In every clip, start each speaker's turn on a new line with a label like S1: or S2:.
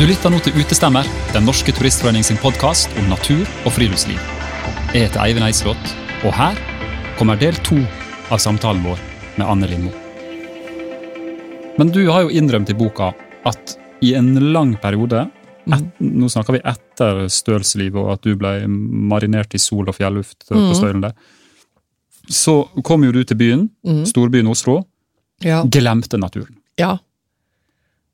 S1: Du lytter nå til Utestemmer, Den norske turistforening sin podkast om natur og friluftsliv. Jeg heter Eivind Eidsvåt, og her kommer del to av samtalen vår med Anne Lindmo. Men du har jo innrømt i boka at i en lang periode et, Nå snakker vi etter Stølslivet og at du ble marinert i sol og fjelluft på Stølen der. Så kom jo du til byen, storbyen Oslo,
S2: Ja.
S1: glemte naturen.
S2: ja.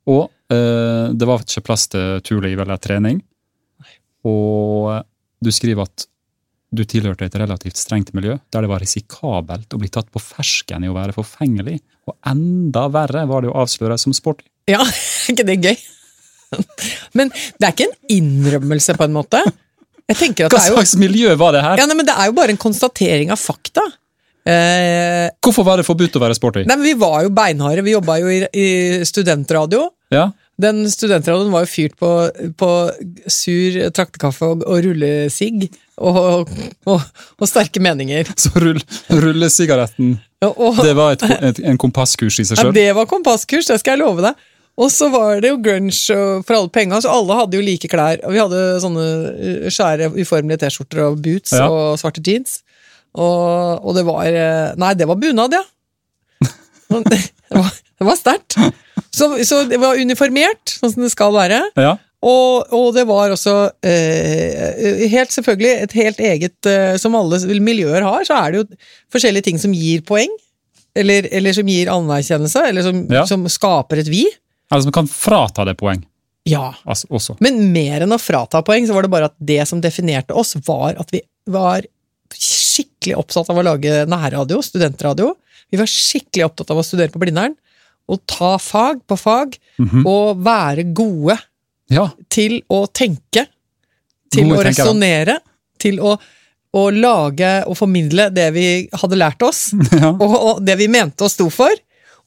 S1: Og eh, det var ikke plass til turliv eller trening. Og eh, du skriver at du tilhørte et relativt strengt miljø, der det var risikabelt å bli tatt på fersken i å være forfengelig. Og enda verre var det å avsløres som sporty.
S2: Ja, er ikke det gøy? Men det er ikke en innrømmelse, på en måte. Jeg tenker at
S1: Hva
S2: det er jo,
S1: slags miljø var det her?
S2: ja, nei, men det er jo bare en konstatering av fakta. Eh,
S1: Hvorfor var det forbudt å være sporty?
S2: nei, men vi var jo beinharde. Vi jobba jo i, i studentradio.
S1: Ja,
S2: Den studentradioen var jo fyrt på, på sur traktekaffe og, og rullesigg. Og, og, og sterke meninger.
S1: Så rull, rullesigaretten,
S2: Og, og,
S1: det var et, et, en kompasskurs i seg
S2: Ja,
S1: sjøl.
S2: det var kompasskurs, det skal jeg love deg. Og så var det jo grunge og for alle penga, så alle hadde jo like klær. Og vi hadde sånne eh, svære, uformelige T-skjorter og boots
S1: Ja.
S2: og svarte jeans. Og, og det var eh, Nei, det var bunad, ja. Men Det var, det var sterkt. Så, så det var uniformert, sånn som det skal være.
S1: Ja,
S2: Og, og det var også eh, helt selvfølgelig et helt eget eh, Som alle miljøer har, så er det jo forskjellige ting som gir poeng. Eller, eller som gir anerkjennelse, eller som,
S1: Ja.
S2: som skaper et vi.
S1: Eller som Altså, kan frata deg poeng
S2: Ja.
S1: altså, også.
S2: Men mer enn å frata poeng, så var det bare at det som definerte oss, var at vi var skikkelig opptatt av å lage nærradio, studentradio. Vi var skikkelig opptatt av å studere på Blindern. Og ta fag på fag,
S1: Mhm.
S2: og være gode
S1: Ja,
S2: til å tenke, til
S1: Gode
S2: å
S1: tenkere.
S2: resonnere, til å, å lage og formidle det vi hadde lært oss,
S1: ja.
S2: og, og det vi mente og sto for.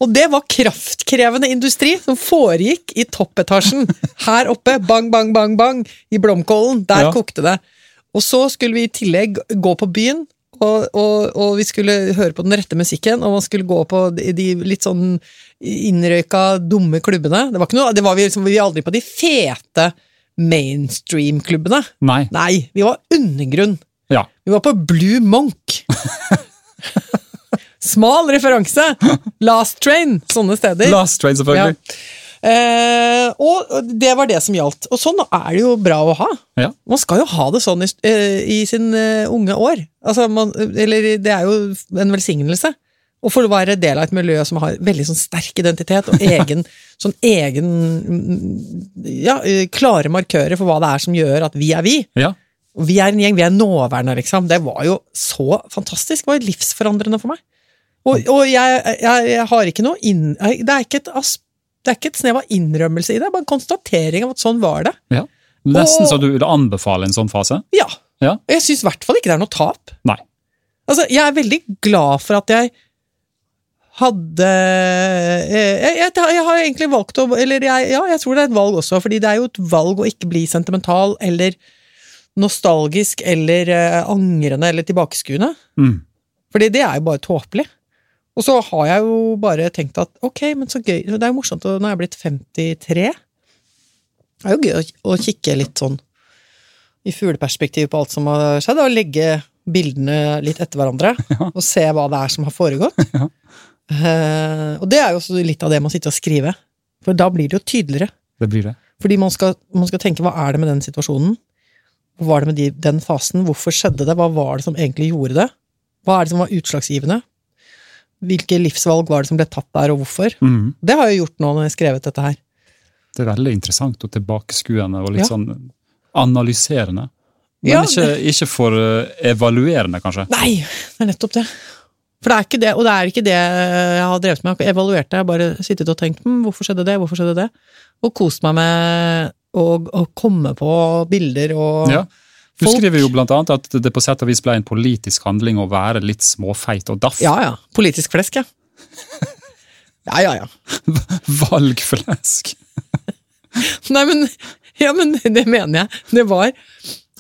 S2: Og det var kraftkrevende industri som foregikk i toppetasjen. Her oppe, bang, bang, bang, bang, i Blomkålen. Der
S1: Ja.
S2: kokte det. Og så skulle vi i tillegg gå på byen, og, og, og vi skulle høre på den rette musikken, og man skulle gå på de, de litt sånn innrøyka, dumme klubbene. Det var ikke noe, det var vi, liksom, vi var aldri på de fete mainstream-klubbene.
S1: Nei.
S2: Nei, vi var undergrunn.
S1: Ja.
S2: Vi var på Blue Monk. Smal referanse! Last Train, sånne steder.
S1: Last trade, selvfølgelig.
S2: Eh, og det var det som gjaldt. Og sånn er det jo bra å ha.
S1: Ja.
S2: Man skal jo ha det sånn i, eh, i sin eh, unge år. Altså, man, eller det er jo en velsignelse. Å få være del av et miljø som har veldig sånn sterk identitet og egen, sånn egen mm, ja, eh, klare markører for hva det er som gjør at vi er vi.
S1: Ja.
S2: Og Vi er en gjeng, vi er nåværende, liksom. Det var jo så fantastisk. Det var jo livsforandrende for meg. Og, og jeg, jeg, jeg har ikke noe inn... Det er ikke et, asp- det er ikke et snev av innrømmelse i det, det er bare en konstatering av at sånn var det.
S1: Ja. Nesten
S2: Og-
S1: så du ville anbefale en sånn fase?
S2: Ja.
S1: Ja.
S2: Og jeg syns i hvert fall ikke det er noe tap.
S1: Nei.
S2: Altså, jeg er veldig glad for at jeg hadde eh, jeg, jeg, jeg har egentlig valgt å Eller jeg, ja, jeg tror det er et valg også, fordi det er jo et valg å ikke bli sentimental eller nostalgisk eller eh, angrende eller tilbakeskuende.
S1: Mm.
S2: Fordi det er jo bare tåpelig. Og så har jeg jo bare tenkt at ok, men så gøy Det er jo morsomt, og nå er jeg blitt 53. Det er jo gøy å- å kikke litt sånn i fugleperspektiv på alt som har skjedd, og legge bildene litt etter hverandre, og se hva det er som har foregått. Eh, og det er jo også litt av det med å sitte og skrive. For da blir det jo tydeligere.
S1: Det blir det.
S2: Fordi man skal, man skal tenke hva er det med den situasjonen? Hva var det med de, den fasen? Hvorfor skjedde det? Hva var det som egentlig gjorde det? Hva er det som var utslagsgivende? Hvilke livsvalg var det som ble tatt der, og hvorfor?
S1: Mm.
S2: Det har jeg gjort nå når jeg har skrevet dette her.
S1: Det er veldig interessant og tilbakeskuende og litt
S2: Ja.
S1: sånn analyserende. Men
S2: Ja,
S1: ikke, ikke for eh, evaluerende, kanskje.
S2: Nei, det er nettopp det. For det er ikke det, og det er ikke det jeg har drevet med. Jeg har ikke evaluert det, jeg har bare sittet og tenkt hm, hvorfor skjedde det, hvorfor skjedde det? Og kost meg med å, å komme på bilder og
S1: Ja. Du
S2: folk-
S1: skriver jo blant annet at det på sett og vis ble en politisk handling å være litt småfeit og daff.
S2: Ja, ja. Politisk flesk, ja. Ja, ja, ja.
S1: Valgflesk.
S2: Nei, men, ja, men det mener jeg. Det var,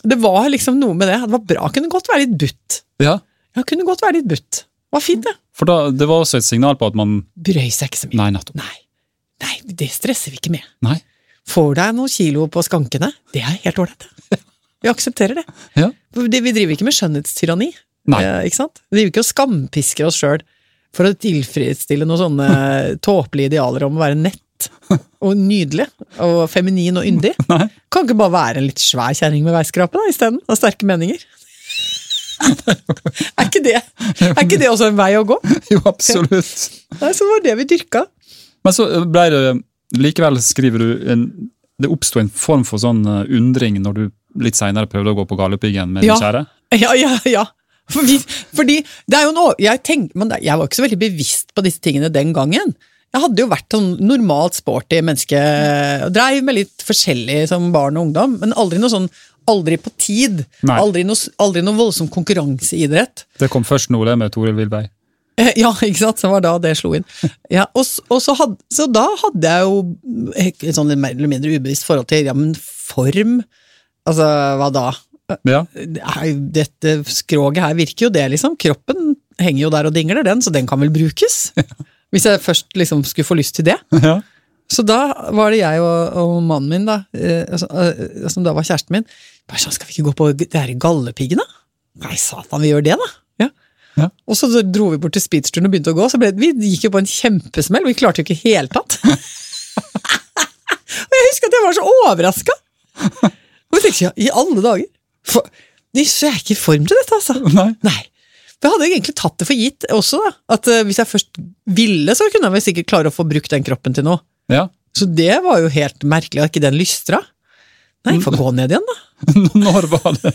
S2: det var liksom noe med det. Det var bra. Jeg kunne godt være litt butt.
S1: Ja.
S2: Jeg kunne godt være litt butt. Det var fint, det.
S1: For da, det var også et signal på at man
S2: Brøy seg ikke så mye.
S1: Nei, nettopp.
S2: Nei. Nei, det stresser vi ikke med.
S1: Nei.
S2: Får deg noen kilo på skankene. Det er helt ålreit. det. Vi aksepterer det.
S1: Ja.
S2: For det- Vi driver ikke med skjønnhetstyranni.
S1: Nei.
S2: eh, Ikke sant? Vi driver ikke og skampisker oss sjøl for å tilfredsstille noen sånne tåpelige idealer om å være nett og nydelig og feminin og yndig.
S1: Nei.
S2: Kan ikke bare være en litt svær kjerring med veiskrape da, isteden? Av sterke meninger. er, ikke det, er ikke det også en vei å gå?
S1: Jo, absolutt.
S2: Nei, så var det vi dyrka.
S1: Men så ble det Likevel skriver du en, Det oppsto en form for sånn eh, undring når du litt seinere prøvde å gå på Galdhøpiggen med
S2: Ja.
S1: din kjære.
S2: Ja, ja, ja. Fordi, fordi det er jo en å- jeg, tenk, men det- jeg var ikke så veldig bevisst på disse tingene den gangen. Jeg hadde jo vært sånn normalt sporty menneske, og dreiv med litt forskjellig som barn og ungdom, men aldri noe sånn Aldri på tid.
S1: Nei.
S2: Aldri noe, s- aldri noe voldsom konkurranseidrett.
S1: Det kom først nå, det med Toril Wilberg.
S2: Eh, Ja, ikke sant? Så det var da det slo inn. Ja, og, s- og så, had, så da hadde jeg jo et sånn litt mer eller mindre ubevisst forhold til ja, men form Altså, hva da?
S1: Ja.
S2: det er jo- dette skroget her virker jo det, liksom. Kroppen henger jo der og dingler, den, så den kan vel brukes? Hvis jeg først liksom skulle få lyst til det.
S1: ja.
S2: Så da var det jeg og, og mannen min, da, eh, altså, eh, som da var kjæresten min, bare sånn, skal vi ikke gå på det her gallepiggen, da? Nei, satan, vi gjør det, da. Ja.
S1: Ja.
S2: Og så dro vi bort til speedsturen og begynte å gå, så ble, vi gikk jo på en kjempesmell, vi klarte jo ikke i hele tatt. og jeg husker at jeg var så overraska. Og jeg tenkte, ja, i alle dager. For, så jeg er ikke i form til dette, altså.
S1: Nei.
S2: Nei. For jeg hadde egentlig tatt det for gitt også, da. At eh, hvis jeg først ville, så kunne jeg vel sikkert klare å få brukt den kroppen til noe.
S1: Ja.
S2: Så det var jo helt merkelig at ikke den lystra. Nei, få gå ned igjen, da.
S1: Når var det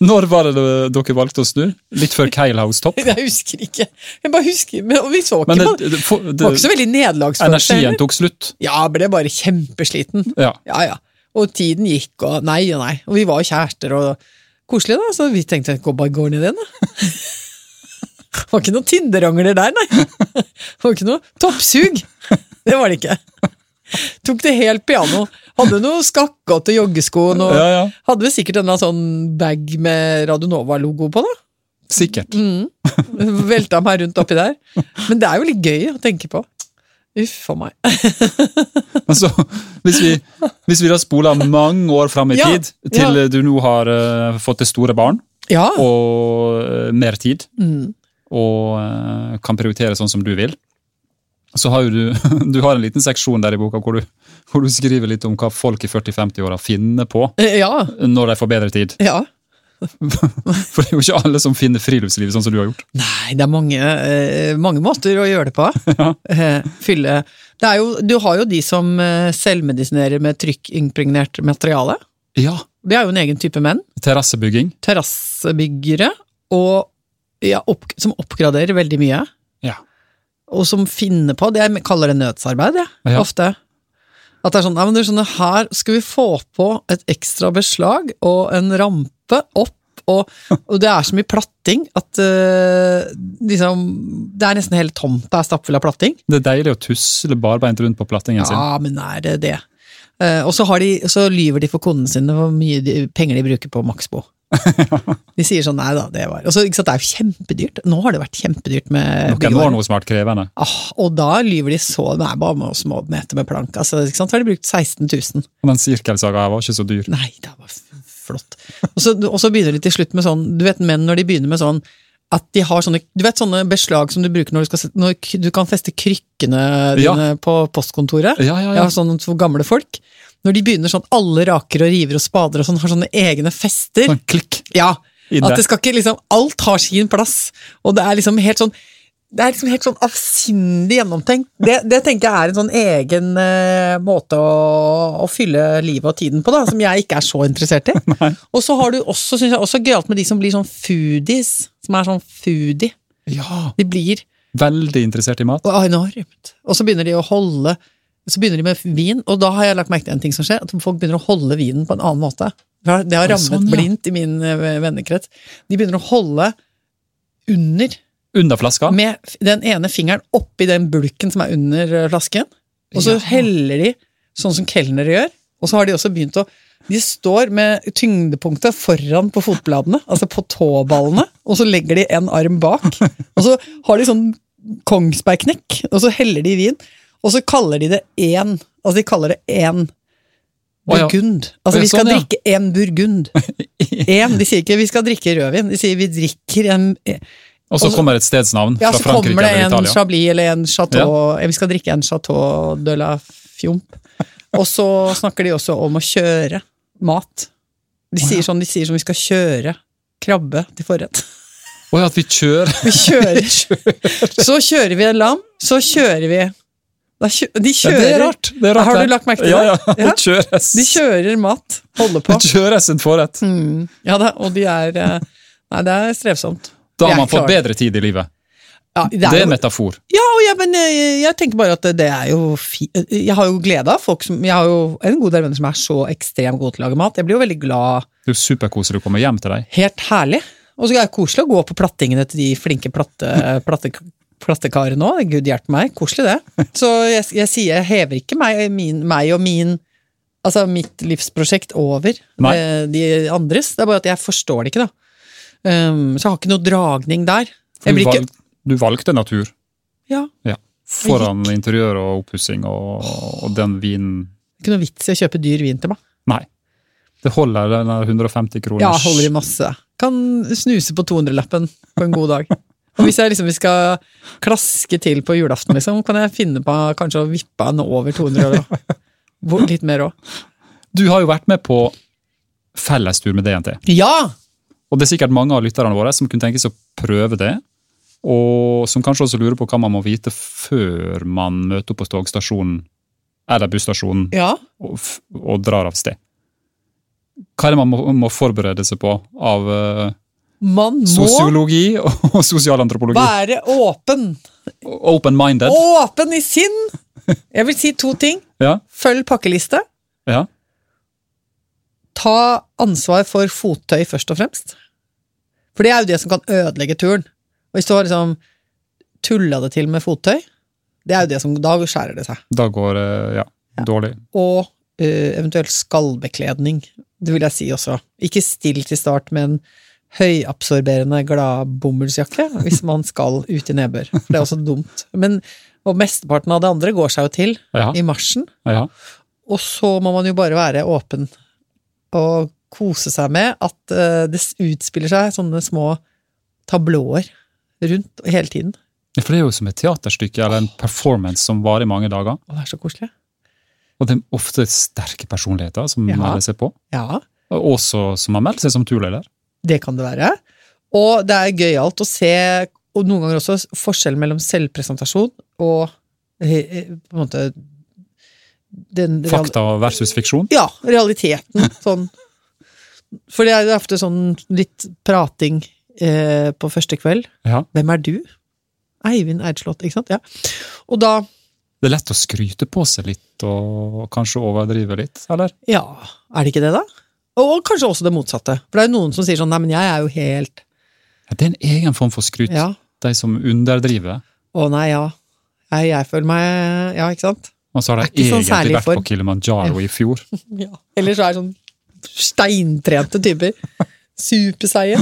S1: Når var det eh, dere valgte å snu? Litt før Keilhaus topp?
S2: Jeg husker ikke. Jeg bare husker, men og vi så ikke
S1: Men det,
S2: på det.
S1: det, for- det,
S2: Var ikke så veldig nederlagsfølelse.
S1: energien
S2: heller.
S1: tok slutt.
S2: Ja, ble bare kjempesliten.
S1: Ja.
S2: Ja, ja. Og tiden gikk, og nei og nei. Og vi var jo kjærester og koselig, da, så vi tenkte gå bare går ned igjen, da. Det var ikke noen Tinder-rangler der, nei. Det var ikke noe toppsug. Det var det ikke. Tok det helt piano. Hadde noe skakkete joggesko. Noe,
S1: Ja, ja.
S2: Hadde vi sikkert denne sånn bag med Radionova-logo på, da.
S1: Sikkert.
S2: Velta meg rundt oppi der. Men det er jo litt gøy å tenke på. Uff a meg.
S1: Men så, hvis vi, hvis vi da spoler mange år fram i
S2: Ja,
S1: tid, til eh, du nå har eh, fått det store barn
S2: Ja.
S1: og eh, mer tid,
S2: Mm.
S1: og eh, kan prioritere sånn som du vil, så har jo du, du har en liten seksjon der i boka hvor du, hvor du skriver litt om hva folk i 40-50-åra finner på
S2: Ja.
S1: når de får bedre tid.
S2: ja.
S1: For det er jo ikke alle som finner friluftslivet sånn som du har gjort.
S2: Nei, det er mange, eh, mange måter å gjøre det på.
S1: Ja.
S2: Eh, Fylle det er jo, Du har jo de som eh, selvmedisinerer med trykkimpregnert materiale.
S1: Ja,
S2: Det er jo en egen type menn.
S1: terrassebygging.
S2: Terrassebyggere og, ja, opp, som oppgraderer veldig mye.
S1: Ja.
S2: og som finner på det Jeg kaller det nødsarbeid, jeg,
S1: Ja.
S2: ofte. At det er sånn, nei, men du skjønner, her skal vi få på et ekstra beslag og en rampe opp, og, og det er så mye platting at eh, liksom Det er nesten hele tomta er stappfull av platting.
S1: Det er deilig å tusle barbeint rundt på plattingen sin.
S2: Ja, men er det det? Eh, og så, har de, så lyver de for kodene sine hvor mye de, penger de bruker på Maxbo. De sier sånn, nei da, det var Og så, ikke sant, det er jo kjempedyrt. Nå har det vært kjempedyrt med
S1: Noen var noe smart krevende.
S2: Ah, og da lyver de så Nei, bare med å småbete med plank. Altså, ikke sant? Så har de brukt 16 000.
S1: Og den sirkelsaga her var ikke så dyr.
S2: Nei, det var f- flott. Og så, og så begynner de til slutt med sånn Du vet menn når de begynner med sånn at de har sånne, du vet, sånne beslag som du bruker når du, skal, sette- når k- du kan feste krykkene
S1: Ja.
S2: dine på postkontoret.
S1: Ja, ja,
S2: Ja,
S1: ja.
S2: sånn for gamle folk. Når de begynner sånn, alle raker og river og spader og sånn, har sånne egne fester.
S1: Sånn klikk
S2: Ja,
S1: i
S2: at det
S1: det.
S2: skal ikke liksom, alt har sin plass, og det er liksom helt sånn det er liksom helt sånn avsindig gjennomtenkt. Det, det tenker jeg er en sånn egen eh, måte å, å fylle livet og tiden på, da, som jeg ikke er så interessert i. Og så har du også, synes jeg, også gøyalt med de som blir sånn foodies, som er sånn foodie.
S1: Ja,
S2: De blir
S1: veldig interessert i mat.
S2: og enormt. Og så begynner de å holde Så begynner de med vin, og da har jeg lagt merke til en ting som skjer, at folk begynner å holde vinen på en annen måte. Det har det har
S1: Ja,
S2: rammet
S1: sånn, ja.
S2: blindt i min eh, vennekrets. De begynner å holde under,
S1: Under flaska.
S2: med f- den ene fingeren oppi den bulken som er under eh, flasken, og så
S1: Ja.
S2: heller de sånn som kelnere gjør, og så har de også begynt å de står med tyngdepunktet foran på fotbladene, altså på tåballene, og så legger de en arm bak. Og så har de sånn kongsbergknekk, og så heller de vin, og så kaller de det én. Altså de kaller det én
S1: Å, ja.
S2: Burgund.
S1: Å,
S2: Altså,
S1: ja,
S2: vi skal
S1: sånn, ja.
S2: drikke en burgund. En, de sier ikke 'vi skal drikke rødvin', de sier 'vi drikker en
S1: Og så
S2: Og så-
S1: kommer et stedsnavn
S2: Ja,
S1: fra
S2: så kommer
S1: Frankrike
S2: det
S1: eller
S2: en
S1: Italia.
S2: Chablis eller en Chateau Vi skal drikke en Chateau de la Fjomp. Og så snakker de også om å kjøre mat. De
S1: Å,
S2: sier
S1: ja.
S2: sånn, de sier sånn vi skal kjøre krabbe til forrett.
S1: Å ja, at vi kjører
S2: Vi kjører. Så kjører vi en lam, så kjører vi da kjø, De
S1: Ja,
S2: kjører.
S1: Det er rart. Det er rart
S2: Har du
S1: det.
S2: lagt merke til
S1: ja, ja.
S2: det?
S1: det?
S2: Ja.
S1: kjøres.
S2: De kjører mat. Holder på.
S1: Det kjøres en forrett.
S2: Mm. Ja da, og de er eh, Nei, det er strevsomt.
S1: Da
S2: Vi
S1: har
S2: er
S1: man fått
S2: klare.
S1: bedre tid i livet.
S2: Ja,
S1: Det er
S2: jo-
S1: en metafor.
S2: Ja, og jeg, men jeg, jeg tenker bare at det- det er jo fi, eh, Jeg har jo glede av folk som Jeg har jo en god del venner som er så ekstremt gode til å lage mat. Jeg blir jo veldig glad.
S1: Det er jo superkoselig å komme hjem til deg.
S2: Helt herlig. Og så er det koselig å gå på plattingene til de flinke platte, platte, plattekarene òg. Gud hjelpe meg. Koselig, det. Så jeg, jeg sier jeg hever ikke meg, min, meg og min Altså mitt livsprosjekt over
S1: Nei.
S2: eh, de andres. Det er bare at jeg forstår det ikke, da. Um, så jeg har ikke noe dragning der.
S1: For
S2: Jeg
S1: du,
S2: blir ikke
S1: valg, du valgte natur
S2: Ja.
S1: foran interiør og oppussing og, og den vinen.
S2: Det er ikke noe vits i å kjøpe dyr vin til meg.
S1: Nei. Det holder den der 150 kroners
S2: Ja, holder i masse. Kan snuse på 200-lappen på en god dag. Og hvis jeg liksom vi skal klaske til på julaften, liksom, kan jeg finne på kanskje å vippe han over 200 år. da. Hvor- Litt mer òg.
S1: Du har jo vært med på fellestur med DNT.
S2: Ja!
S1: Og det er sikkert mange av lytterne våre som kunne tenke seg å prøve det. Og som kanskje også lurer på hva man må vite før man møter opp på togstasjonen eller busstasjonen
S2: Ja,
S1: og, f- og drar av sted. Hva er det man må, må forberede seg på av eh,
S2: Man må
S1: sosiologi og, og sosialantropologi?
S2: være åpen.
S1: Open-minded.
S2: Åpen i sinn! Jeg vil si to ting.
S1: Ja,
S2: Følg pakkeliste.
S1: ja.
S2: ta ansvar for fottøy først og fremst. For det er jo det som kan ødelegge turen. Og hvis du har liksom tulla det til med fottøy, det er jo det som Da skjærer det seg.
S1: Da går det ja, dårlig.
S2: Og eh, eventuelt skallbekledning. Det vil jeg si også. Ikke still til start med en høyabsorberende gladbomullsjakke hvis man skal ut i nedbør. For det er også dumt. Men, og mesteparten av det andre går seg jo til
S1: Ja,
S2: i marsjen.
S1: ja.
S2: Og så må man jo bare være åpen og kose seg med at eh, det utspiller seg sånne små tablåer rundt hele tiden.
S1: Ja, For det er jo som et teaterstykke eller en performance som varer i mange dager.
S2: Å, det er så koselig.
S1: Og det er ofte sterke personligheter som
S2: Ja.
S1: melder seg på.
S2: Ja,
S1: Og også som har meldt seg som turleder.
S2: det kan det være. Og det er gøyalt å se, og noen ganger også forskjellen mellom selvpresentasjon og eh, eh, på en måte den real-
S1: Fakta versus fiksjon.
S2: Ja, realiteten. Sånn. For det er jo ofte sånn litt prating eh, på første kveld.
S1: Ja.
S2: Hvem er du? Eivind Eidslott, ikke sant? Ja. Og da
S1: Det er lett å skryte på seg litt og kanskje overdrive litt, eller?
S2: Ja, er det ikke det, da? Og kanskje også det motsatte. For det er jo noen som sier sånn Nei, men jeg er jo helt
S1: Ja, det er en egen form for skryt.
S2: Ja.
S1: De som underdriver.
S2: Å nei, ja. Jeg, jeg føler meg Ja, ikke sant?
S1: Og så har
S2: Det er
S1: de
S2: ikke sånn
S1: egentlig
S2: særlig
S1: vært
S2: form.
S1: på Kilimanjaro i fjor.
S2: Ja. Eller så er det sånn steintrente typer. Superseige.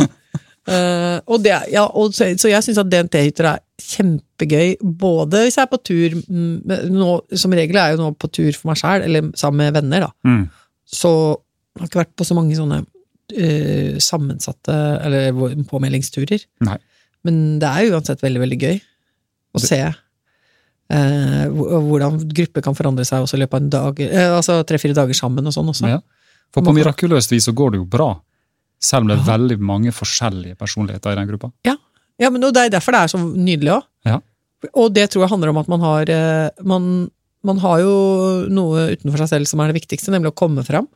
S2: Eh, og det, ja, og så, så jeg syns at DNT-hytter er kjempegøy, både hvis jeg er på tur mm, men nå, Som regel er jeg jo nå på tur for meg sjæl, eller sammen med venner, da.
S1: Mm.
S2: Så jeg har ikke vært på så mange sånne eh, sammensatte eller hvor- påmeldingsturer.
S1: Nei.
S2: Men det er uansett veldig, veldig gøy å se eh, hvor- hvordan grupper kan forandre seg også i løpet av en dag, eh, altså tre-fire dager sammen og sånn også.
S1: Ja. For på mirakuløst vis så går det jo bra. Selv om det er veldig mange forskjellige personligheter i den gruppa.
S2: Ja, men og Det er derfor det er så nydelig òg.
S1: Ja.
S2: Og det tror jeg handler om at man har eh, man, man har jo noe utenfor seg selv som er det viktigste, nemlig å komme fram.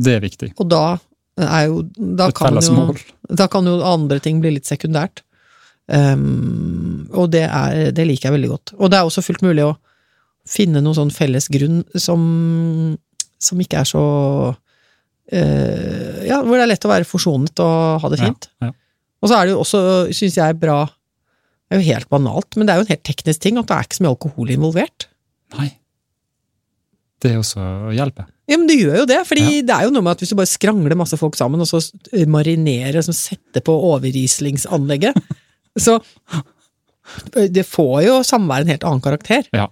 S1: Det er viktig.
S2: Og da eh, er jo Da
S1: Et
S2: kan
S1: felles
S2: jo,
S1: mål.
S2: da kan jo andre ting bli litt sekundært. Ehm, og det, er, det liker jeg veldig godt. Og det er også fullt mulig å finne noen sånn felles grunn som, som ikke er så eh, Ja, hvor det er lett å være forsonet og ha det
S1: Ja,
S2: fint.
S1: ja.
S2: Og så er det jo også, syns jeg, bra Det er jo helt banalt, men det er jo en helt teknisk ting at det er ikke så mye alkohol involvert.
S1: Nei. Det er også å hjelpe.
S2: Ja, men det gjør jo det, fordi det er jo noe med at hvis du bare skrangler masse folk sammen, og så eh, marinerer, som setter på overrislingsanlegget, så eh, det får jo samværet en helt annen karakter.
S1: Ja.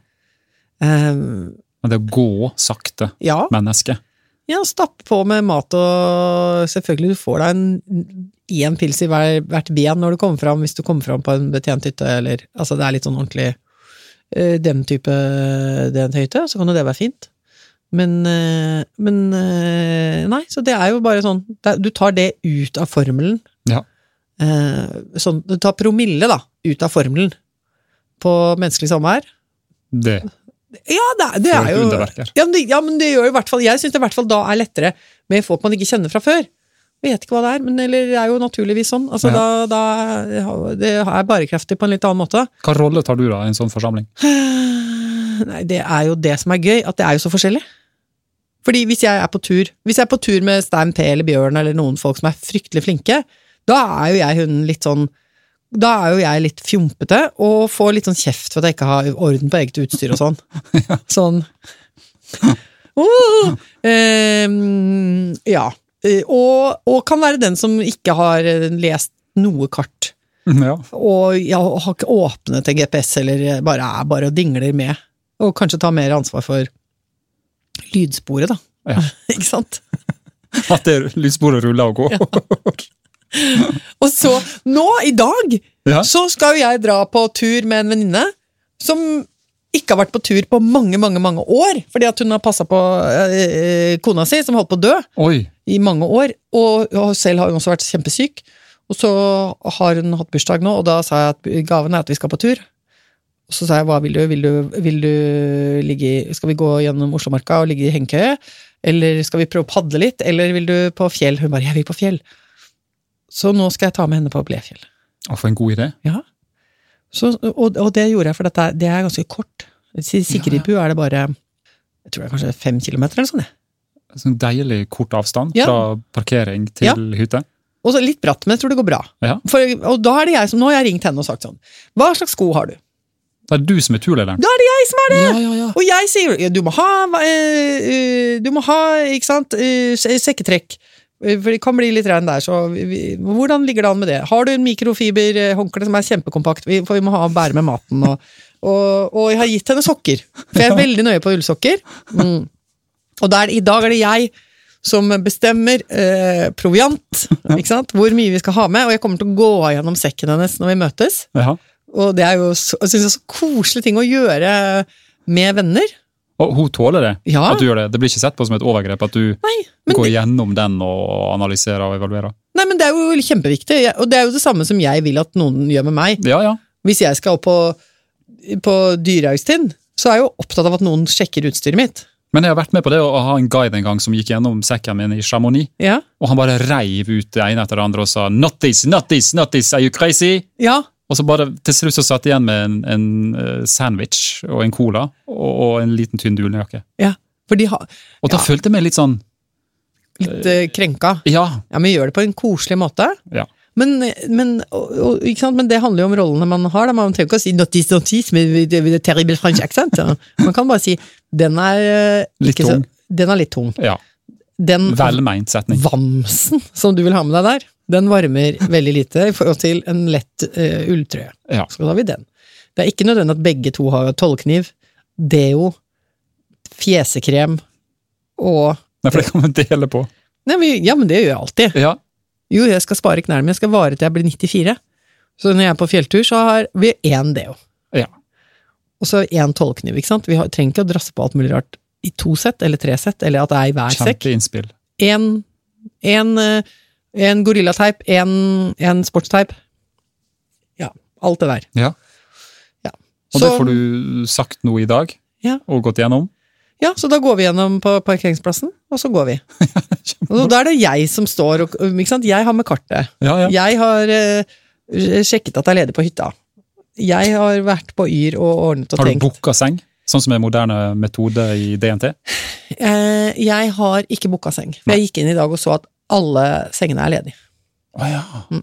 S2: Ehm,
S1: Men det å gå sakte
S2: ja,
S1: menneske
S2: Ja, stapp på med mat og Selvfølgelig, du får deg en én pils i hver, hvert ben når du kommer fram, hvis du kommer fram på en betjent hytte, eller Altså, det er litt sånn ordentlig eh, den type den hytte, så kan jo det være fint. Men, eh, men eh, Nei, så det er jo bare sånn det, er- Du tar det ut av formelen.
S1: Ja.
S2: Eh, Sånn, du tar promille, da, ut av formelen på menneskelig samvær.
S1: Det
S2: Ja, det, er- det
S1: får
S2: er
S1: et
S2: jo
S1: underverk her.
S2: ja, men det, ja, men det gjør jo i hvert fall Jeg syns det i hvert fall da er lettere med folk man ikke kjenner fra før. Vet ikke hva det er, men eller, det er jo naturligvis sånn. Altså, da, da, det er bærekraftig på en litt annen måte.
S1: Hva rolle tar du da i en sånn forsamling?
S2: Nei, det er jo det som er gøy, at det er jo så forskjellig. Fordi hvis jeg er på tur Hvis jeg er på tur med Stein P eller Bjørn eller noen folk som er fryktelig flinke, da er jo jeg hunden litt sånn Da er jo jeg litt fjompete og får litt sånn kjeft for at jeg ikke har orden på eget utstyr og sånn. Sånn oh, ehm, Ja. Eh, Og, og kan være den som ikke har eh, lest noe kart
S1: Ja.
S2: og jeg har ikke åpnet en GPS, eller bare er bare og dingler med. Og kanskje ta mer ansvar for lydsporet, da.
S1: Ja.
S2: ikke sant?
S1: At det er lysbordet ruller og går.
S2: Og så, nå i dag,
S1: Ja.
S2: så skal jo jeg dra på tur med en venninne som ikke har vært på tur på mange, mange mange år, fordi at hun har passa på eh, eh, kona si, som holdt på å dø.
S1: Oi.
S2: i mange år, og, og selv har hun også vært kjempesyk. Og så har hun hatt bursdag nå, og da sa jeg at gaven er at vi skal på tur. Og så sa jeg hva vil du, vil du, vil du ligge i Skal vi gå gjennom Oslomarka og ligge i hengekøye? Eller skal vi prøve å padle litt, eller vil du på fjell? Hun bare jeg vil på fjell. Så nå skal jeg ta med henne på Blefjell.
S1: Å, for en god idé.
S2: Ja. Så, og, og det gjorde jeg, for dette, er- det er ganske kort. I Sigridbu er det bare jeg tror det er kanskje fem kilometer eller sånn. jeg.
S1: Sånn deilig kort avstand
S2: Ja.
S1: fra parkering til
S2: Ja.
S1: hytte.
S2: Og så litt bratt, men jeg tror det går bra.
S1: Ja.
S2: For, og da er det jeg som, nå har jeg ringt henne og sagt sånn, hva slags sko har du?
S1: Det er du som er turlederen.
S2: Da er det jeg som er det!
S1: Ja, ja, ja.
S2: Og jeg sier, «Ja, du må ha, eh, eh, du må ha, ikke sant, eh, se- sekketrekk. Eh, For det kan bli litt regn der, så vi, vi- hvordan ligger det an med det? Har du en mikrofiberhåndkle som er kjempekompakt, vi, for vi må ha bære med maten. Og, og, og jeg har gitt henne sokker, for jeg er veldig nøye på ullsokker. Mm. Og der, i dag er det jeg som bestemmer eh, proviant, ikke sant, hvor mye vi skal ha med, og jeg kommer til å gå gjennom sekken hennes når vi møtes.
S1: Ja.
S2: Og det er jo så, jeg synes det er så koselig ting å gjøre med venner.
S1: Og hun tåler det?
S2: Ja.
S1: At du gjør Det Det blir ikke sett på som et overgrep at du
S2: Nei, men,
S1: går
S2: det,
S1: gjennom den og analyserer og evaluerer?
S2: nei, men det er jo kjempeviktig, Jeg- og det er jo det samme som jeg vil at noen gjør med meg.
S1: Ja, ja.
S2: Hvis jeg skal opp på, på Dyrehagstind, så er jeg jo opptatt av at noen sjekker utstyret mitt.
S1: Men jeg har vært med på det å ha en guide en gang som gikk gjennom sekken min i Chamonix,
S2: Ja,
S1: og han bare reiv ut det ene etter det andre og sa 'not this, not this, not this, are you crazy?'
S2: ja,
S1: Og så bare til slutt så satt jeg igjen med en, en eh, sandwich og en cola og, og en liten tynn ulljakke.
S2: ja. for de har
S1: Og da
S2: Ja.
S1: følte jeg meg litt sånn
S2: litt eh, krenka.
S1: Ja,
S2: Ja, men gjør det på en koselig måte.
S1: Øh. Ja.
S2: Men, men, og, og, ikke sant? men det handler jo om rollene man har. Da. Man trenger ikke å si 'not this, not this' med with the- with the terrible French accent. Ja. Man kan bare si 'den er eh,
S1: Litt
S2: ikke så-
S1: tung.
S2: Den er litt tung.
S1: ja.
S2: Den
S1: Mm. Velmeint setning.
S2: vamsen som du vil ha med deg der, den varmer veldig lite i forhold til en lett eh, ulltrøye.
S1: Ja.
S2: Så da har vi den. Det er ikke nødvendig at begge to har tollkniv, deo, fjesekrem og
S1: Nei, for det kan man dele på.
S2: Nei, men, Ja, men det gjør jeg alltid.
S1: Ja,
S2: Jo, jeg skal spare knærne mine, jeg skal vare til jeg blir 94. Så når jeg er på fjelltur, så har vi én deo.
S1: ja.
S2: Og så én tollkniv, ikke sant. Vi har, trenger ikke å drasse på alt mulig rart i to sett eller tre sett, eller at det er i hver sekk.
S1: Kjempeinnspill.
S2: en, en, eh, en gorillateip, en, en sportsteip. Ja, alt det der.
S1: Ja.
S2: Ja.
S1: Og det
S2: Så-
S1: får du sagt nå i dag,
S2: Ja.
S1: og gått gjennom.
S2: Ja, så da går vi gjennom på parkeringsplassen, og så går vi. Og da er det jeg som står og ikke sant? Jeg har med kartet.
S1: Ja, ja.
S2: Jeg har eh, sjekket at det er ledig på hytta. Jeg har vært på Yr og ordnet og
S1: Har du
S2: tenkt.
S1: booka seng? Sånn som er moderne metode i DNT?
S2: Eh, jeg har ikke booka seng. For jeg gikk inn i dag og så at alle sengene er ledige.
S1: Å ja.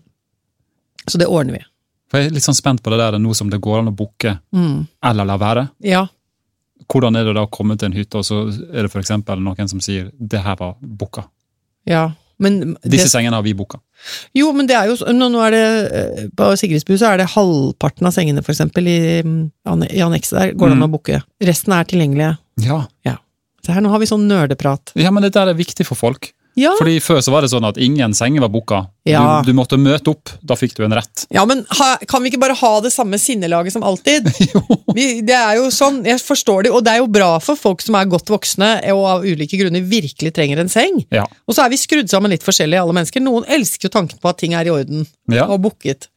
S2: Så det ordner vi.
S1: For jeg er litt sånn spent på det der nå som det går an å booke
S2: Mm.
S1: eller la være.
S2: Ja.
S1: Hvordan er det da å komme til en hytte, og så er det f.eks. noen som sier 'det her var booka'.
S2: ja. Men
S1: Disse sengene har vi booka.
S2: Jo, men det er jo så- nå, nå er det, eh, På Sigridsbu så er det halvparten av sengene, for eksempel, i, mm, anne- i annekset der, går det an å booke. Resten er tilgjengelige.
S1: Ja.
S2: Ja. Så dette her. Nå har vi sånn nerdeprat.
S1: Ja, men dette er viktig for folk.
S2: Ja,
S1: Fordi Før så var det sånn at ingen senger var booka.
S2: Ja.
S1: Du, du måtte møte opp, da fikk du en rett.
S2: ja men ha, kan vi ikke bare ha det samme sinnelaget som alltid?
S1: Jo.
S2: Vi, det er jo sånn, jeg forstår det, og det er jo bra for folk som er godt voksne og av ulike grunner virkelig trenger en seng.
S1: Ja.
S2: Og så er vi skrudd sammen litt forskjellig, alle mennesker. Noen elsker jo tanken på at ting er i orden
S1: Ja.
S2: og booket.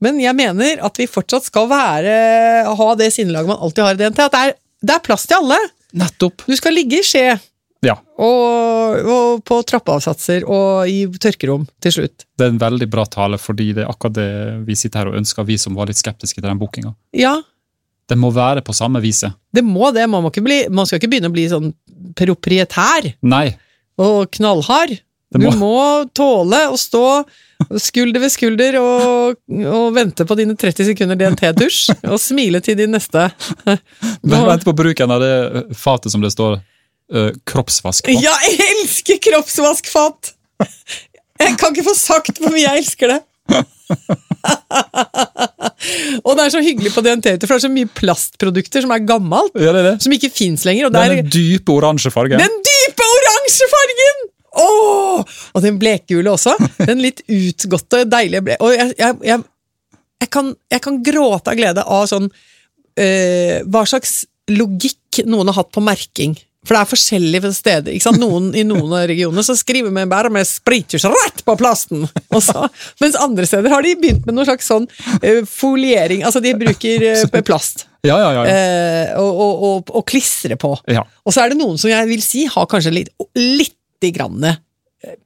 S2: Men jeg mener at vi fortsatt skal være, ha det sinnelaget man alltid har i DNT. At det er, det er plass til alle.
S1: Nettopp.
S2: Du skal ligge i skje
S1: Ja.
S2: og, og på trappeavsatser og i tørkerom til slutt.
S1: Det er en veldig bra tale, fordi det er akkurat det vi sitter her og ønsker, vi som var litt skeptiske til den bookinga.
S2: Ja,
S1: Den må være på samme viset.
S2: det må det. Man, må ikke bli, man skal ikke begynne å bli sånn proprietær
S1: Nei.
S2: og knallhard.
S1: Det må-
S2: Du må tåle å stå skulder ved skulder og, og vente på dine 30 sekunder DNT-dusj, og smile til din neste.
S1: Men vent på bruken av det fatet som det står eh, kroppsvask på.
S2: Ja, jeg elsker kroppsvaskfat! Jeg kan ikke få sagt hvor mye jeg elsker det. og det er så hyggelig på DNT-hytter, for det er så mye plastprodukter som er gammelt,
S1: Ja, det er det.
S2: som ikke fins lenger. Og det er
S1: Den dype oransje fargen.
S2: Den dype oransje fargen! Åh! Og den blekgule også. Den litt utgåtte, deilige ble... Og jeg, jeg, jeg, jeg, kan, jeg kan gråte av glede av sånn eh, Hva slags logikk noen har hatt på merking. For det er forskjellig fra steder. ikke sant? Noen, I noen av regionene så skriver vi bare med sprittusj rett på plasten! Og så, mens andre steder har de begynt med noe slags sånn eh, foliering. Altså, de bruker eh, plast
S1: Ja, ja, ja.
S2: eh, og, og, og, og klistrer på.
S1: ja.
S2: Og så er det noen som jeg vil si har kanskje litt, litt grann eh,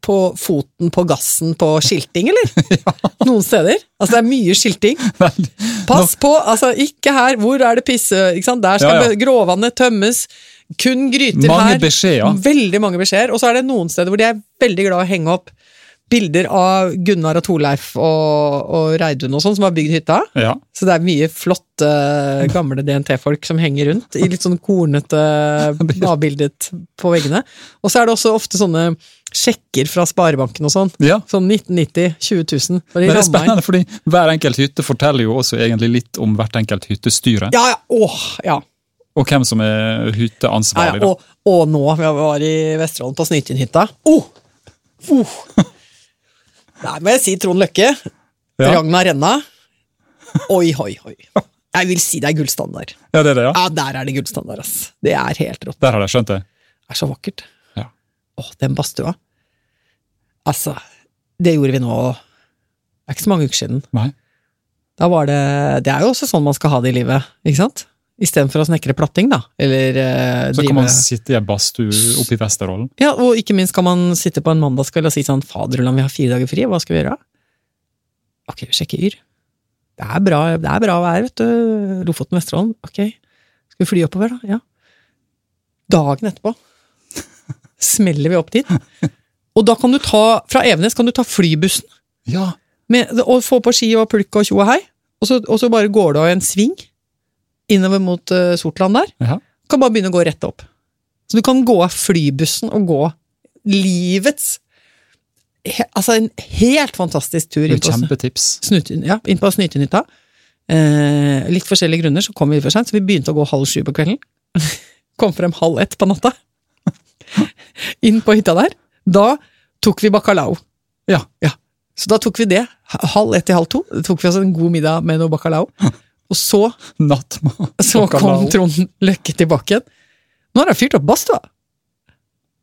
S2: på foten på gassen på skilting, eller? Noen steder. Altså det er mye skilting.
S1: Veldig.
S2: Pass på, altså ikke her, hvor er det pisse, ikke sant? Der skal
S1: Ja, ja.
S2: bø- gråvannet tømmes, kun gryter
S1: Mange
S2: her.
S1: beskjeder.
S2: Veldig mange beskjeder. Og så er det noen steder hvor de er veldig glad i å henge opp bilder av Gunnar og Torleif og, og Reidun og sånn, som har bygd hytta.
S1: Ja.
S2: Så det er mye flotte, gamle DNT-folk som henger rundt i litt sånn kornete avbildet på veggene. Og så er det også ofte sånne sjekker fra sparebanken og sånn.
S1: ja.
S2: Sånn 1990, 20 000. og de
S1: Men det er
S2: rammer inn.
S1: spennende, fordi hver enkelt hytte forteller jo også egentlig litt om hvert enkelt hyttestyre,
S2: Ja, ja, åh, ja.
S1: og hvem som er
S2: ja, ja.
S1: hytteansvarlig. da.
S2: Og, og nå, vi var i Vesterålen på Snytinhytta. Oh! Oh! Nei, må jeg si Trond Løkke.
S1: Ja.
S2: Ragna Renna. Oi, hoi, hoi. Jeg vil si det er gullstandard.
S1: Ja, det er det, ja.
S2: Ja, der er det gullstandard, ass. Det er helt rått.
S1: Der har jeg skjønt det.
S2: Det er så vakkert.
S1: Ja.
S2: Åh, den badstua. Altså, det gjorde vi nå Det er ikke så mange uker siden.
S1: Nei.
S2: Da var det Det er jo også sånn man skal ha det i livet, ikke sant? Istedenfor å snekre platting, da. Eller eh,
S1: Så kan
S2: drive
S1: man sitte i ei badstue oppe i Vesterålen.
S2: Ja, og ikke minst kan man sitte på en mandagskveld og si sånn Faderullan, vi har fire dager fri, hva skal vi gjøre? Ok, vi sjekker Yr. Det er bra, det er bra vær, vet du. Lofoten, Vesterålen. Ok. Skal vi fly oppover, da? Ja. Dagen etterpå smeller vi opp dit. Og da kan du ta, fra Evenes kan du ta flybussen
S1: Ja.
S2: med, og få på ski og pulk og tjo og hei. Og så, og så bare går du av en sving innover mot eh, Sortland der
S1: ja.
S2: kan bare begynne å gå rett opp. Så du kan gå av flybussen og gå livets he, Altså en helt fantastisk tur
S1: Det er
S2: inn
S1: jo
S2: på,
S1: kjempetips.
S2: snut, ja, inn på Snytenytta. Eh, litt forskjellige grunner, så kom vi for seint, så vi begynte å gå halv sju på kvelden. Kom frem halv ett på natta. Inn på hytta der. Da tok vi bacalao.
S1: Ja.
S2: Ja. Så da tok vi det. Halv ett til halv to. Da tok vi oss en god middag med noe bacalao. Og så
S1: Nattmat.
S2: så
S1: bacalao.
S2: kom Trond Løkke tilbake igjen. Nå har han fyrt opp badstua!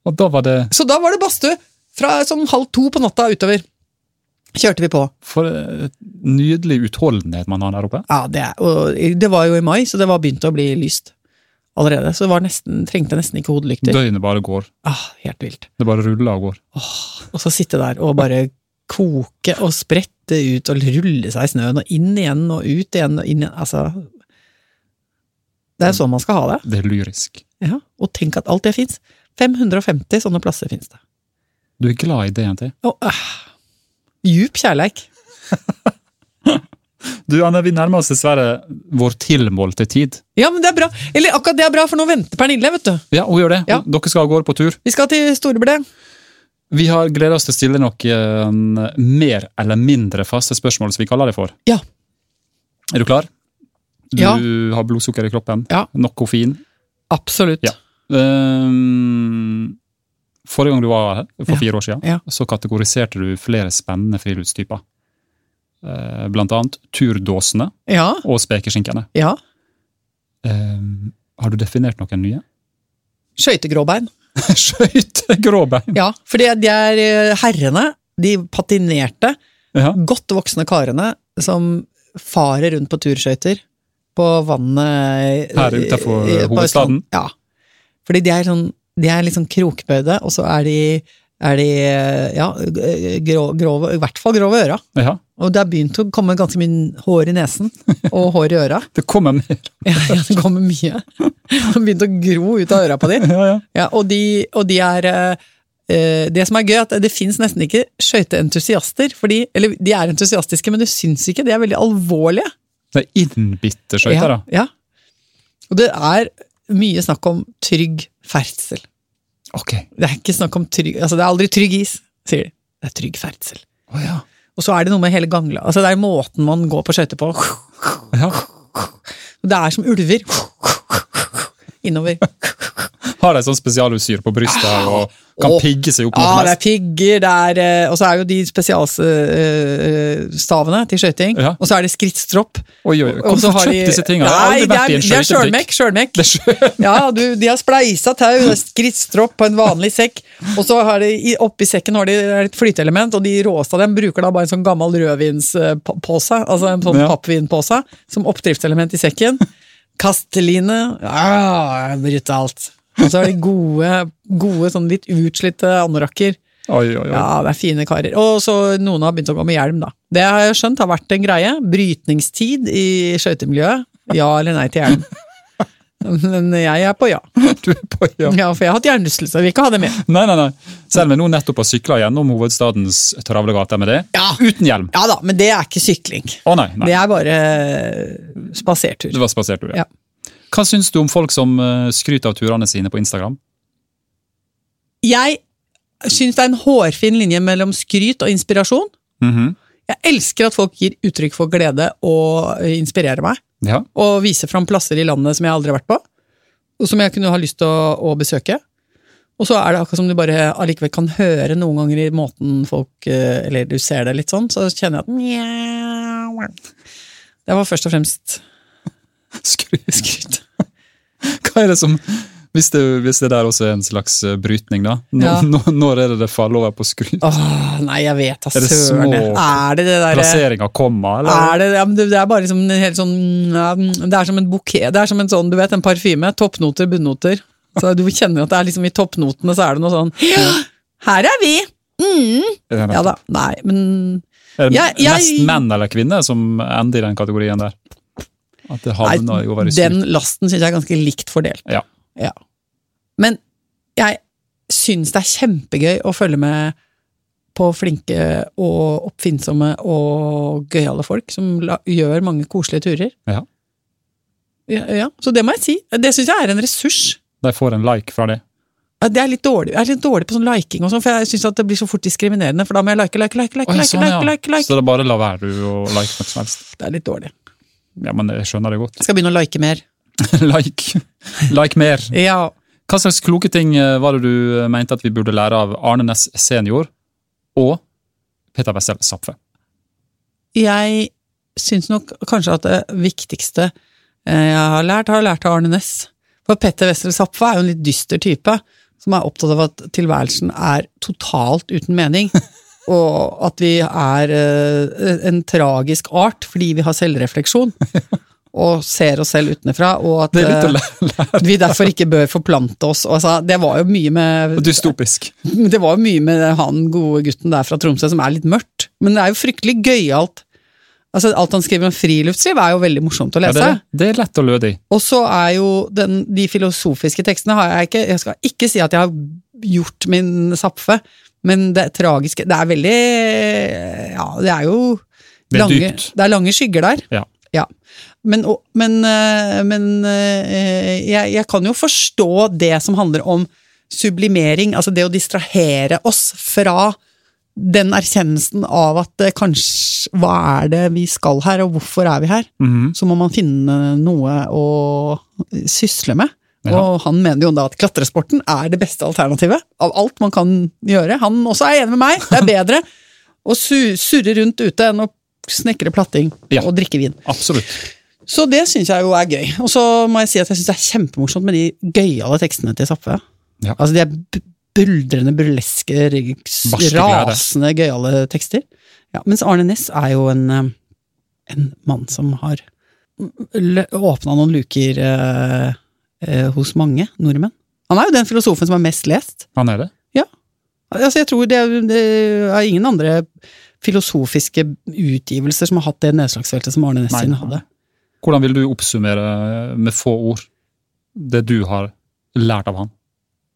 S1: Og da var det
S2: Så da var det badstue fra sånn halv to på natta utover. Kjørte vi på.
S1: For et nydelig utholdenhet man har der oppe.
S2: Ja, det, er- og det var jo i mai, så det var begynt å bli lyst allerede. Så det var nesten, trengte nesten ikke hodelykter.
S1: Døgnet bare går.
S2: Ah, helt vilt.
S1: Det bare ruller og går.
S2: Og så sitte der og bare koke og sprette ut og rulle seg i snøen og inn igjen og ut igjen og inn igjen. Altså Det er sånn man skal ha det.
S1: Det er lyrisk.
S2: Ja. Og tenk at alt det fins. 550 sånne plasser fins det.
S1: Du er glad i DNT.
S2: Og, øh, djup kjærleik.
S1: Du, Anne, vi nærmer oss dessverre vår tilmålte tid.
S2: Ja, men det er bra. Eller akkurat det er bra, for nå venter Pernille, vet du.
S1: Ja, hun gjør det.
S2: Ja.
S1: Dere skal av gårde på tur.
S2: Vi skal til Storeblæ.
S1: Vi har gleda oss til å stille noen eh, mer eller mindre faste spørsmål, som vi kaller det for.
S2: Ja.
S1: Er du klar? Du
S2: Ja.
S1: har blodsukker i kroppen,
S2: Ja.
S1: nok koffein,
S2: Absolutt.
S1: Ja. Ehm, forrige gang du var her, for
S2: Ja.
S1: fire år siden,
S2: Ja.
S1: så kategoriserte du flere spennende friluftstyper. Eh, blant annet turdåsene
S2: Ja,
S1: og spekeskinkene.
S2: ja.
S1: Ehm, har du definert noen nye?
S2: Skøytegråbein.
S1: Skøytegråbein!
S2: Ja, for det, det er eh, herrene, de patinerte,
S1: Ja.
S2: godt voksne karene som farer rundt på turskøyter på vannet eh,
S1: Her utenfor
S2: i- på
S1: hovedstaden?
S2: Østlandet. Ja. Fordi de er, sånn, de er liksom krokbøyde, og så er de, er de eh, ja, g- grå, grove, i hvert fall grove øra.
S1: ja.
S2: Og det har begynt å komme ganske mye hår i nesen og hår i øra.
S1: Det kommer mer.
S2: Ja, ja, det kommer mye. Det har begynt å gro ut av øra på de.
S1: Ja, ja.
S2: Ja, og de, og de er eh, eh, Det som er gøy, er at det fins nesten ikke skøyteentusiaster. Fordi, eller de er entusiastiske, men du syns ikke. De er veldig alvorlige.
S1: Det er innbitte skøyter, da.
S2: ja. Og det er mye snakk om trygg ferdsel.
S1: Ok.
S2: Det er ikke snakk om trygg Altså, det er aldri trygg is, sier de. Det er trygg ferdsel.
S1: Å ja.
S2: Og så er det noe med hele gangla. Altså, det er måten man går på skøyter på.
S1: ja.
S2: Det er som ulver. Innover.
S1: Har de sånn spesialutstyr på brystet og kan
S2: Å.
S1: pigge seg opp mot
S2: Ja,
S1: ah,
S2: Ah, det er pigger, det er eh, Og så er jo de spesialstavene til skøyting.
S1: Ja.
S2: Og så er det skrittstropp.
S1: Oi, oi, oi.
S2: og så
S1: Hvorfor
S2: har
S1: kjøpt
S2: de-
S1: disse tingene? Jeg har
S2: Nei,
S1: aldri
S2: det
S1: vært i en
S2: er, det er
S1: skøytebutikk.
S2: sjølmekk. sjølmekk.
S1: Det er sjøl-
S2: Ja, du, de har spleisa tau, det er skrittstropp på en vanlig sekk. Og så har de, i- oppi sekken har de et flyteelement, og de råeste av dem bruker da bare en sånn gammel rødvinspose, altså en sånn
S1: Ja.
S2: pappvinpose, som oppdriftselement i sekken. Kasteline ah, Brutalt. Og så har de gode, gode sånn litt utslitte anorakker.
S1: Oi, oi, oi.
S2: Ja, det er fine karer. Og så noen har begynt å gå med hjelm, da. Det har jeg skjønt har vært en greie. Brytningstid i skøytemiljøet. Ja eller nei til hjelm. Men jeg er på ja.
S1: Du er på, ja.
S2: Ja, For jeg har hatt hjernerystelse, vil ikke ha det med.
S1: Nei, nei, nei. Selv om jeg nå nettopp har sykla gjennom hovedstadens travle gater med det.
S2: Ja.
S1: Uten hjelm!
S2: Ja da, men det er ikke sykling.
S1: Å nei, nei.
S2: Det er bare eh, spasertur.
S1: Det var spasertur.
S2: Ja.
S1: Ja. Hva syns du om folk som eh, skryter av turene sine på Instagram?
S2: Jeg syns det er en hårfin linje mellom skryt og inspirasjon.
S1: Mhm.
S2: Jeg elsker at folk gir uttrykk for glede og eh, inspirerer meg.
S1: Ja.
S2: og vise fram plasser i landet som jeg aldri har vært på, og som jeg kunne ha lyst til å, å besøke. Og så er det akkurat som du bare allikevel kan høre noen ganger i måten folk eh, Eller du ser det litt sånn, så kjenner jeg at mjau. Det var først og fremst
S1: Skryt. Hva er det som hvis det, hvis det der også er en slags eh, brytning, da. Når,
S2: Ja.
S1: når, når er det det faller over på skryt?
S2: Åh, nei, jeg vet da
S1: Er det
S2: søren.
S1: små
S2: Er det det derre
S1: Plassering av komma, eller?
S2: er det, ja, men det det er bare liksom en helt sånn ja, Det er som en bukett. Det er som en sånn, du vet, en parfyme. Toppnoter, bunnnoter. Så du kjenner at det er liksom i toppnotene så er det noe sånn Her er vi!
S1: Er det,
S2: Ja da, nei, men
S1: er det
S2: Ja, jeg-
S1: mest menn eller kvinner som ender i den kategorien der? At det havner jo over
S2: nei,
S1: i skryt?
S2: den lasten syns jeg er ganske likt fordelt.
S1: Ja.
S2: Ja. Men jeg syns det er kjempegøy å følge med på flinke og oppfinnsomme og gøyale folk som la, gjør mange koselige turer.
S1: Ja.
S2: Ja, ja. Så det må jeg si. Det syns jeg er en ressurs.
S1: De får en like fra det.
S2: Ja, Det er litt dårlig. Jeg er litt dårlig på sånn liking, og sånn, for jeg syns det blir så fort diskriminerende. For da må jeg like, like, like, like,
S1: Å, ja,
S2: like,
S1: sånn, ja.
S2: like, like, like.
S1: Så det er bare la være du å like noe som helst.
S2: Det er litt dårlig.
S1: Ja, men jeg skjønner det godt.
S2: Jeg skal begynne å like mer.
S1: like, like mer.
S2: Ja.
S1: Hva slags kloke ting eh, var det du eh, mente at vi burde lære av Arne Næss senior og Peter Wessel Zapfe?
S2: jeg syns nok kanskje at det viktigste eh, jeg har lært, har jeg lært av Arne Næss. For Petter Wessel Zapfe er jo en litt dyster type, som er opptatt av at tilværelsen er totalt uten mening. Og at vi er eh, en tragisk art fordi vi har selvrefleksjon. Og ser oss selv utenfra, og at
S1: Det er litt å
S2: eh,
S1: lære.
S2: vi derfor ikke bør forplante oss. Og Altså, det var jo mye med
S1: Dystopisk.
S2: men Det var jo mye med han gode gutten der fra Tromsø som er litt mørkt, men det er jo fryktelig gøyalt. Altså, alt han skriver om friluftsliv er jo veldig morsomt å
S1: Ja,
S2: lese.
S1: det, er- det er lett og lødig.
S2: Og så er jo den, de filosofiske tekstene har jeg ikke Jeg skal ikke si at jeg har gjort min Zapfe, men det tragiske Det er veldig Ja, det er jo
S1: Det er
S2: lange,
S1: dypt.
S2: det er lange skygger der.
S1: Ja.
S2: Men, og- men, eh, men eh, jeg, jeg kan jo forstå det som handler om sublimering, altså det å distrahere oss fra den erkjennelsen av at eh, kanskje Hva er det vi skal
S1: Mm.
S2: her, og hvorfor er vi her?
S1: Mhm.
S2: Så må man finne noe å sysle med.
S1: Ja.
S2: Og han mener jo da at klatresporten er det beste alternativet av alt man kan gjøre. Han også er enig med meg, det er bedre å su surre rundt ute enn å snekre platting
S1: Ja.
S2: og drikke vin.
S1: Absolutt.
S2: Så det syns jeg jo er gøy. Og så må jeg si at jeg syns det er kjempemorsomt med de gøyale tekstene til Sappe.
S1: Ja.
S2: Altså de er bu- buldrende, burleske, rig- s-
S1: Barske greier, det.
S2: rasende gøyale tekster. Ja, mens Arne Næss er jo en, eh, en mann som har åpna noen luker eh, eh, hos mange nordmenn. Han er jo den filosofen som er mest lest.
S1: Han er det.
S2: Altså jeg tror det, er- det er ingen andre filosofiske utgivelser som har hatt det nedslagsfeltet som Arne Næss
S1: Nei.
S2: sin hadde.
S1: Hvordan vil du oppsummere med få ord det du har lært av han?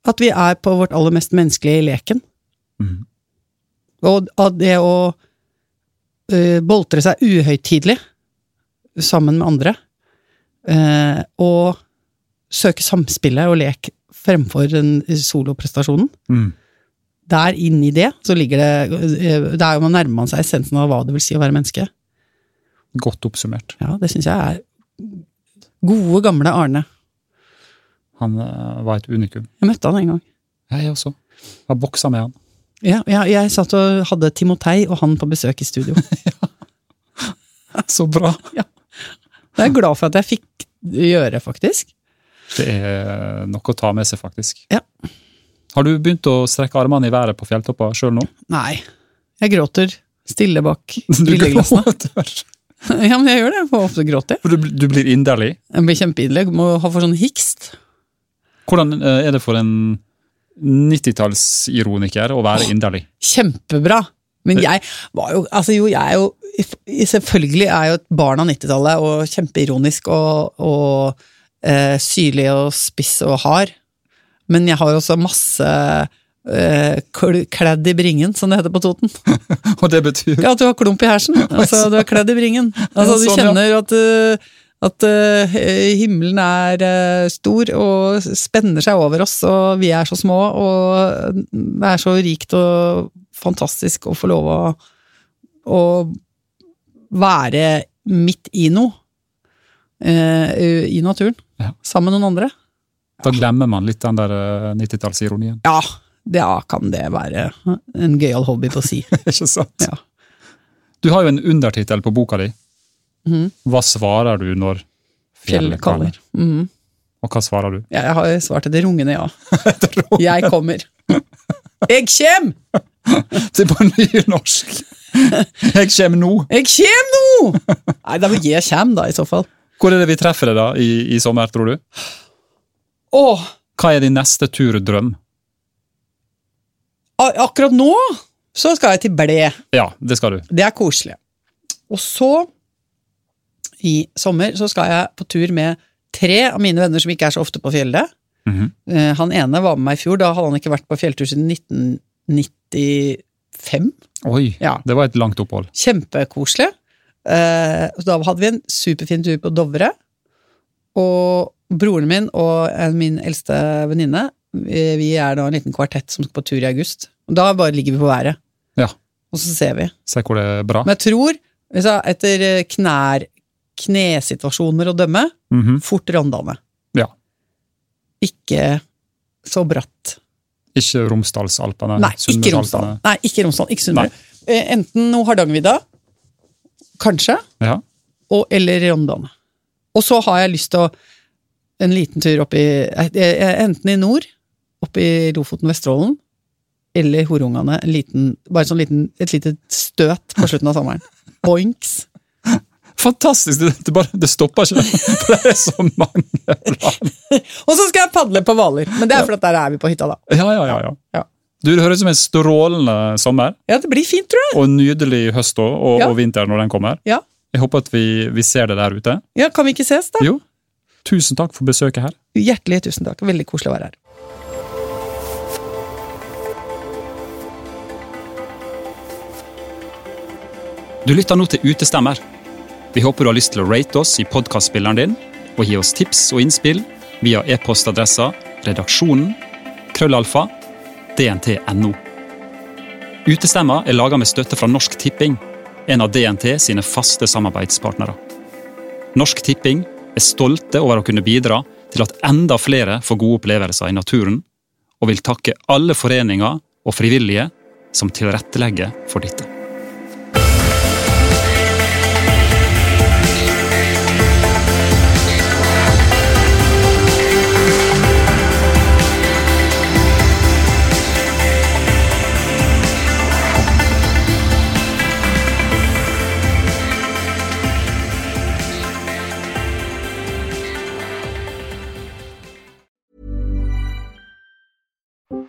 S2: At vi er på vårt aller mest menneskelige i leken.
S1: Mhm.
S2: Og at det å eh, boltre seg uhøytidelig sammen med andre, eh, og søke samspillet og lek fremfor den soloprestasjonen
S1: Mm.
S2: Der inni det så ligger det eh, Der man nærmer man seg essensen av hva det vil si å være menneske.
S1: Godt oppsummert.
S2: Ja, Det syns jeg er gode, gamle Arne.
S1: Han eh, var et unikum.
S2: Jeg møtte han en gang.
S1: Jeg også. Jeg boksa med han.
S2: Ja, ja, jeg satt og hadde Timotei og han på besøk i studio.
S1: Så bra!
S2: Det er jeg glad for at jeg fikk gjøre, faktisk.
S1: Det er noe å ta med seg, faktisk.
S2: Ja.
S1: Har du begynt å strekke armene i været på fjelltoppa sjøl nå?
S2: Nei. Jeg gråter stille bak
S1: Du
S2: brilleglassene.
S1: gråter.
S2: ja, men jeg gjør det. Jeg får ofte gråte. jeg.
S1: For Du, du blir inderlig.
S2: Jeg blir kjempeidelig. Jeg Må ha for sånn hikst.
S1: Hvordan eh, er det for en 90-tallsironiker å være inderlig?
S2: Kjempebra. Men jeg var jo Altså, jo, jeg er jo Selvfølgelig er jeg jo et barn av 90-tallet og kjempeironisk og, og eh, syrlig og spiss og hard. Men jeg har jo også masse eh, kl- kledd i bringen, som det heter på Toten.
S1: Og det betyr
S2: Ja, at du har klump i hersen. Altså, du er kledd i bringen. Altså, du
S1: Sånn, ja.
S2: kjenner at, uh, at uh, himmelen er uh, stor og spenner seg over oss, og vi er så små, og det er så rikt og fantastisk å få lov å, å være midt i noe. eh, I naturen.
S1: Ja.
S2: Sammen med noen andre.
S1: Da glemmer man litt den der eh, 90-tallsironien.
S2: Ja, da kan det være en gøyal hobby på si.
S1: Ikke sant?
S2: Ja.
S1: Du har jo en undertittel på boka di.
S2: Mhm.
S1: Hva svarer du når fjellet kaller?
S2: Mhm.
S1: Og hva svarer du?
S2: Jeg har svart et rungende ja. Jeg kommer. Jeg kjem!
S1: Det er på nynorsk! Jeg kommer nå!
S2: Jeg kjem nå! Nei, det er vel jeg kjem, da, i så fall.
S1: Hvor er det vi treffer deg da i, i sommer, tror du?
S2: Åh,
S1: Hva er din neste turdrøm?
S2: a- akkurat nå så skal jeg til Ble.
S1: Ja, det skal du.
S2: Det er koselig. Og så, i sommer, så skal jeg på tur med tre av mine venner som ikke er så ofte på fjellet.
S1: Mhm.
S2: Eh, Han ene var med meg i fjor, da hadde han ikke vært på fjelltur siden 1995.
S1: Oi,
S2: Ja.
S1: det var et langt opphold.
S2: Kjempekoselig. Eh, og da hadde vi en superfin tur på Dovre. Og broren min og en- min eldste venninne eh, Vi er da en liten kvartett som skal på tur i august. Og da bare ligger vi på været.
S1: Ja.
S2: Og så ser vi.
S1: Se hvor det er bra.
S2: Men jeg tror, hvis jeg, etter eh, knær, knesituasjoner å dømme,
S1: Mhm.
S2: fort Rondane.
S1: Ja.
S2: Ikke så bratt.
S1: Ikke Romsdalsalpene.
S2: Nei, ikke Romsdal.
S1: Sunnmørsalpene.
S2: Nei, ikke Romsdal. Ikke Sunnmøre. Eh, Enten noe Hardangervidda, kanskje.
S1: Ja.
S2: og, eller Rondane. Og så har jeg lyst til å en liten tur opp i eh, eh, Enten i nord, opp i Lofoten, Vesterålen, eller Horungane. En liten, bare sånn liten, et lite støt på slutten av sommeren. Boinks.
S1: Fantastisk! Det, det, bare, det stopper ikke. For det er så mange planer.
S2: Og så skal jeg padle på Hvaler. Men det er fordi at der er vi på hytta, da.
S1: Ja, ja, ja, ja.
S2: Ja.
S1: Du, Det høres ut som en strålende sommer,
S2: Ja, det blir fint, tror jeg.
S1: og en nydelig høst også, og,
S2: Ja.
S1: og vinter når den kommer.
S2: Ja.
S1: Jeg håper at vi, vi ser det der ute.
S2: Ja, Kan vi ikke ses, da?
S1: Jo. Tusen takk for besøket her.
S2: Hjertelig tusen takk. Veldig koselig å være her.
S1: Du lytter nå til Utestemmer. Vi håper du har lyst til å rate oss i podkastspilleren din, og gi oss tips og innspill via e-postadressa redaksjonen krøllalfa dnt.no. Utestemma er laga med støtte fra Norsk Tipping, en av DNT sine faste samarbeidspartnere. Norsk Tipping er stolte over å kunne bidra til at enda flere får gode opplevelser i naturen, og vil takke alle foreninger og frivillige som tilrettelegger for dette.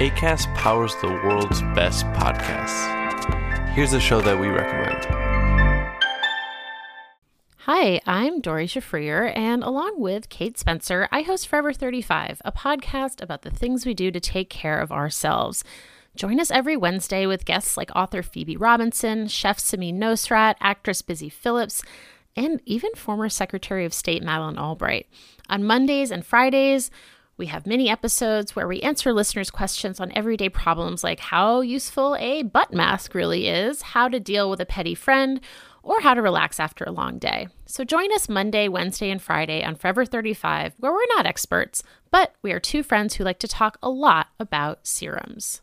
S3: ACAST powers the world's best podcasts. Here's a show that we recommend.
S4: Hi, I'm Dori Shafrir, and along with Kate Spencer, I host Forever 35, a podcast about the things we do to take care of ourselves. Join us every Wednesday with guests like author Phoebe Robinson, chef Samin Nosrat, actress Busy Phillips, and even former Secretary of State Madeleine Albright. On Mondays and Fridays, we have mini episodes where we answer listeners' questions on everyday problems like how useful a butt mask really is, how to deal with a petty friend, or how to relax after a long day. So join us Monday, Wednesday, and Friday on Forever 35, where we're not experts, but we are two friends who like to talk a lot about serums.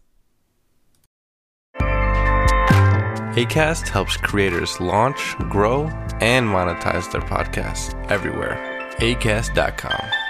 S3: ACAST helps creators launch, grow, and monetize their podcasts everywhere. ACAST.com.